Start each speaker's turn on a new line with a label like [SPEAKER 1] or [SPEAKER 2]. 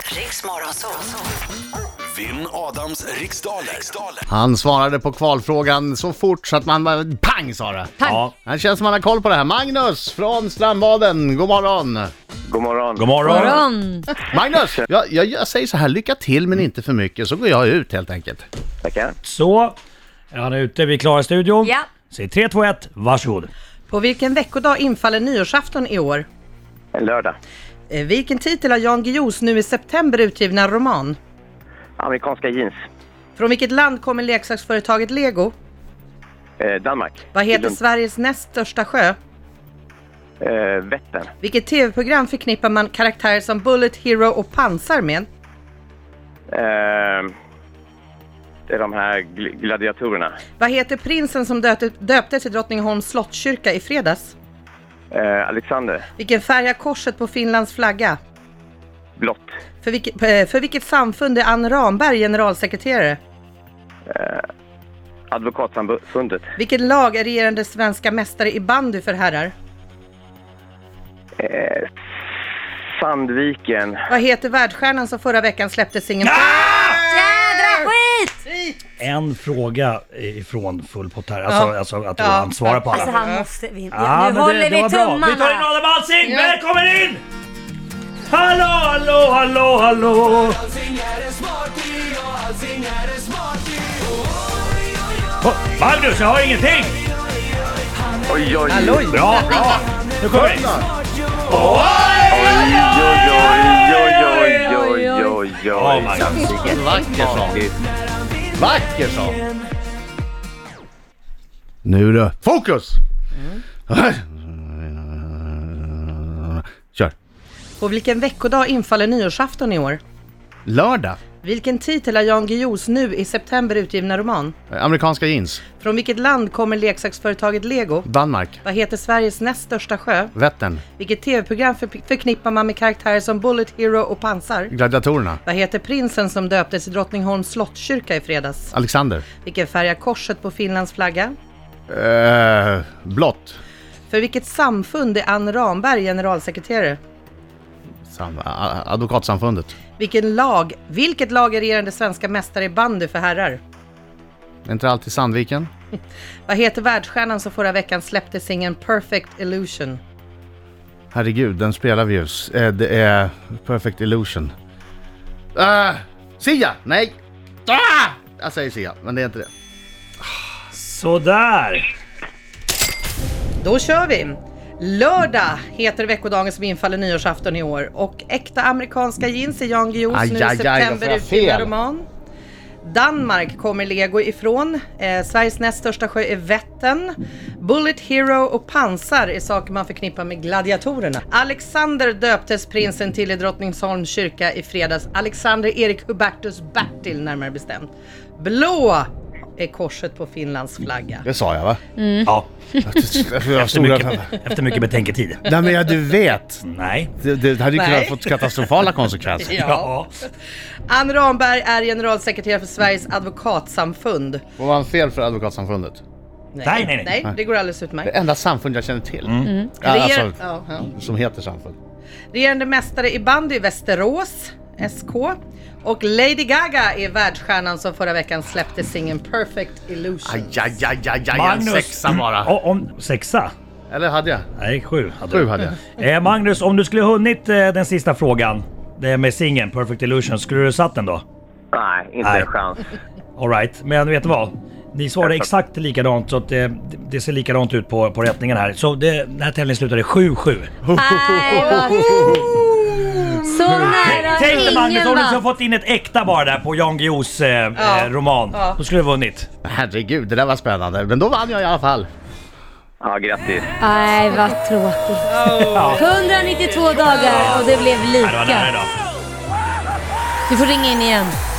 [SPEAKER 1] Riks Morgonzoo.
[SPEAKER 2] Vinn Adams riksdaler. riksdaler.
[SPEAKER 3] Han svarade på kvalfrågan så fort så att man bara pang sa det.
[SPEAKER 4] Ja.
[SPEAKER 3] Det känns som man har koll på det här. Magnus från Strandbaden, god morgon!
[SPEAKER 5] God morgon.
[SPEAKER 4] God morgon.
[SPEAKER 6] Morgon!
[SPEAKER 3] Magnus! Jag, jag, jag säger så här, lycka till men inte för mycket så går jag ut helt enkelt.
[SPEAKER 5] Tackar.
[SPEAKER 4] Så, är han ute? Vi är klara i studion.
[SPEAKER 6] Ja.
[SPEAKER 4] Säg 3, 2, 1, varsågod.
[SPEAKER 7] På vilken veckodag infaller nyårsafton i år?
[SPEAKER 5] En lördag.
[SPEAKER 7] Eh, Vilken titel har Jan Guillous nu i september utgivna roman?
[SPEAKER 5] Amerikanska jeans.
[SPEAKER 7] Från vilket land kommer leksaksföretaget Lego?
[SPEAKER 5] Eh, Danmark.
[SPEAKER 7] Vad heter
[SPEAKER 5] Lund.
[SPEAKER 7] Sveriges näst största sjö?
[SPEAKER 5] Eh, Vättern.
[SPEAKER 7] Vilket tv-program förknippar man karaktärer som Bullet, Hero och Pansar med?
[SPEAKER 5] Eh, det är de här gl- gladiatorerna.
[SPEAKER 7] Vad heter prinsen som döpte, döptes i Drottningholms slottskyrka i fredags?
[SPEAKER 5] Eh, Alexander.
[SPEAKER 7] Vilken färg har korset på Finlands flagga?
[SPEAKER 5] Blått.
[SPEAKER 7] För vilket, eh, för vilket samfund är Ann Ramberg generalsekreterare?
[SPEAKER 5] Advokatsamfundet.
[SPEAKER 7] Vilket lag är regerande svenska mästare i bandy för herrar?
[SPEAKER 5] Eh, Sandviken.
[SPEAKER 7] Vad heter världsstjärnan som förra veckan släppte singeln
[SPEAKER 6] Jädra skit!
[SPEAKER 4] En fråga ifrån full pott här. Alltså,
[SPEAKER 7] Ja.
[SPEAKER 4] alltså att du
[SPEAKER 7] Ja.
[SPEAKER 4] han svarar på alla.
[SPEAKER 6] Alltså han måste... Vi,
[SPEAKER 4] Ja,
[SPEAKER 6] nu
[SPEAKER 4] men
[SPEAKER 6] håller vi
[SPEAKER 4] var bra. Vi tar in
[SPEAKER 6] tummarna!
[SPEAKER 4] Adam Alsing! Välkommen in! Hallå, hallå, hallå, hallå! Oh, Magnus, jag har ingenting!
[SPEAKER 5] Oj, oj, oj,
[SPEAKER 7] Halloj!
[SPEAKER 4] Bra, bra! Nu kommer vi! Oj,
[SPEAKER 5] oj, oj, oj, oj, oj, oj.
[SPEAKER 4] Oh my God.
[SPEAKER 3] Vacker sång! Vacker sång! Nu du, fokus! Kör!
[SPEAKER 7] På vilken veckodag infaller nyårsafton i år?
[SPEAKER 3] Lördag,
[SPEAKER 7] Vilken titel har Jan Guillous nu i september utgivna roman?
[SPEAKER 3] amerikanska jeans,
[SPEAKER 7] Från vilket land kommer leksaksföretaget Lego?
[SPEAKER 3] Danmark,
[SPEAKER 7] Vad heter Sveriges näst största sjö?
[SPEAKER 3] Vättern,
[SPEAKER 7] Vilket tv-program för- förknippar man med karaktärer som Bullet, Hero och Pansar?
[SPEAKER 3] Gladiatorerna,
[SPEAKER 7] Vad heter prinsen som döptes i Drottningholms slottskyrka i fredags?
[SPEAKER 3] Alexander,
[SPEAKER 7] Vilken färg har korset på Finlands flagga?
[SPEAKER 3] eh, Blått,
[SPEAKER 7] För vilket samfund är Ann Ramberg generalsekreterare?
[SPEAKER 3] Sam- a- Advokatsamfundet.
[SPEAKER 7] Vilken lag, vilket lag är regerande svenska mästare i bandy för herrar?
[SPEAKER 3] Är inte det alltid Sandviken?
[SPEAKER 7] Vad heter världsstjärnan som förra veckan släppte singeln Perfect Illusion?
[SPEAKER 3] Herregud, den spelar vi just. Eh, det är Perfect Illusion. Uh, Sia! Nej! Ah! Jag säger Sia, men det är inte det.
[SPEAKER 4] Sådär!
[SPEAKER 7] Då kör vi! Lördag heter veckodagen som infaller nyårsafton i år och äkta amerikanska jeans är Jan Guillous
[SPEAKER 3] Aj,
[SPEAKER 7] nu i
[SPEAKER 3] aj, aj, då får jag
[SPEAKER 7] september utgivna
[SPEAKER 3] fel.
[SPEAKER 7] roman. Danmark kommer Lego ifrån. Eh, Sveriges näst största sjö är Vättern. Bullet Hero och pansar är saker man förknippar med gladiatorerna. Alexander döptes prinsen till i Drottningholms kyrka i fredags. Alexander Erik Hubertus Bertil närmare bestämt. Blå är korset på Finlands flagga.
[SPEAKER 3] Det sa jag va?
[SPEAKER 4] Ja,
[SPEAKER 3] Jag
[SPEAKER 4] efter
[SPEAKER 3] stod
[SPEAKER 4] mycket,
[SPEAKER 3] där.
[SPEAKER 4] efter mycket betänketid.
[SPEAKER 3] Nej men ja, du vet.
[SPEAKER 4] Nej.
[SPEAKER 3] Det, det hade ju
[SPEAKER 7] Nej.
[SPEAKER 3] kunnat fått katastrofala konsekvenser.
[SPEAKER 4] Ja.
[SPEAKER 7] Ann Ramberg är generalsekreterare för Sveriges advokatsamfund.
[SPEAKER 3] Får man fel för Advokatsamfundet?
[SPEAKER 4] Nej, nej, nej.
[SPEAKER 7] det går alldeles
[SPEAKER 3] Det
[SPEAKER 7] utmärkt.
[SPEAKER 3] enda samfund jag känner till. Ja,
[SPEAKER 7] Reger-
[SPEAKER 3] alltså,
[SPEAKER 7] ja, ja.
[SPEAKER 3] som heter samfund.
[SPEAKER 7] Regerande mästare i bandy i Västerås, SK. Och Lady Gaga är världsstjärnan som förra veckan släppte singeln Perfect Illusion.
[SPEAKER 3] Aj, aj, aj, aj, aj, en sexa bara.
[SPEAKER 4] O- om, sexa?
[SPEAKER 3] Eller hade jag?
[SPEAKER 4] Nej, sju hade
[SPEAKER 3] Sju
[SPEAKER 4] du.
[SPEAKER 3] hade jag.
[SPEAKER 4] Eh, Magnus, om du skulle hunnit eh, den sista frågan, det med singeln Perfect Illusion, skulle du satt den då?
[SPEAKER 5] Nej, inte
[SPEAKER 4] Nej.
[SPEAKER 5] en chans.
[SPEAKER 4] Alright, men vet du vad? Ni svarade exakt likadant så att det, det ser likadant ut på, på rättningen här. Så det, den här tävlingen slutade 7-7.
[SPEAKER 6] Nej, vad... Så nära
[SPEAKER 4] Tänk dig Magnus
[SPEAKER 6] ingen
[SPEAKER 4] om du liksom skulle ha
[SPEAKER 6] vann!
[SPEAKER 4] fått in ett äkta bara där på Jan Guillous eh,
[SPEAKER 7] Ja.
[SPEAKER 4] eh, roman.
[SPEAKER 7] Ja.
[SPEAKER 4] Då skulle du ha vunnit.
[SPEAKER 3] Herregud, det där var spännande. Men då vann jag i alla fall.
[SPEAKER 5] Ja, grattis.
[SPEAKER 6] Nej, vad tråkigt. 192 dagar och det blev
[SPEAKER 4] Nej, det var nära
[SPEAKER 6] lika.
[SPEAKER 4] idag.
[SPEAKER 6] Du får ringa in igen.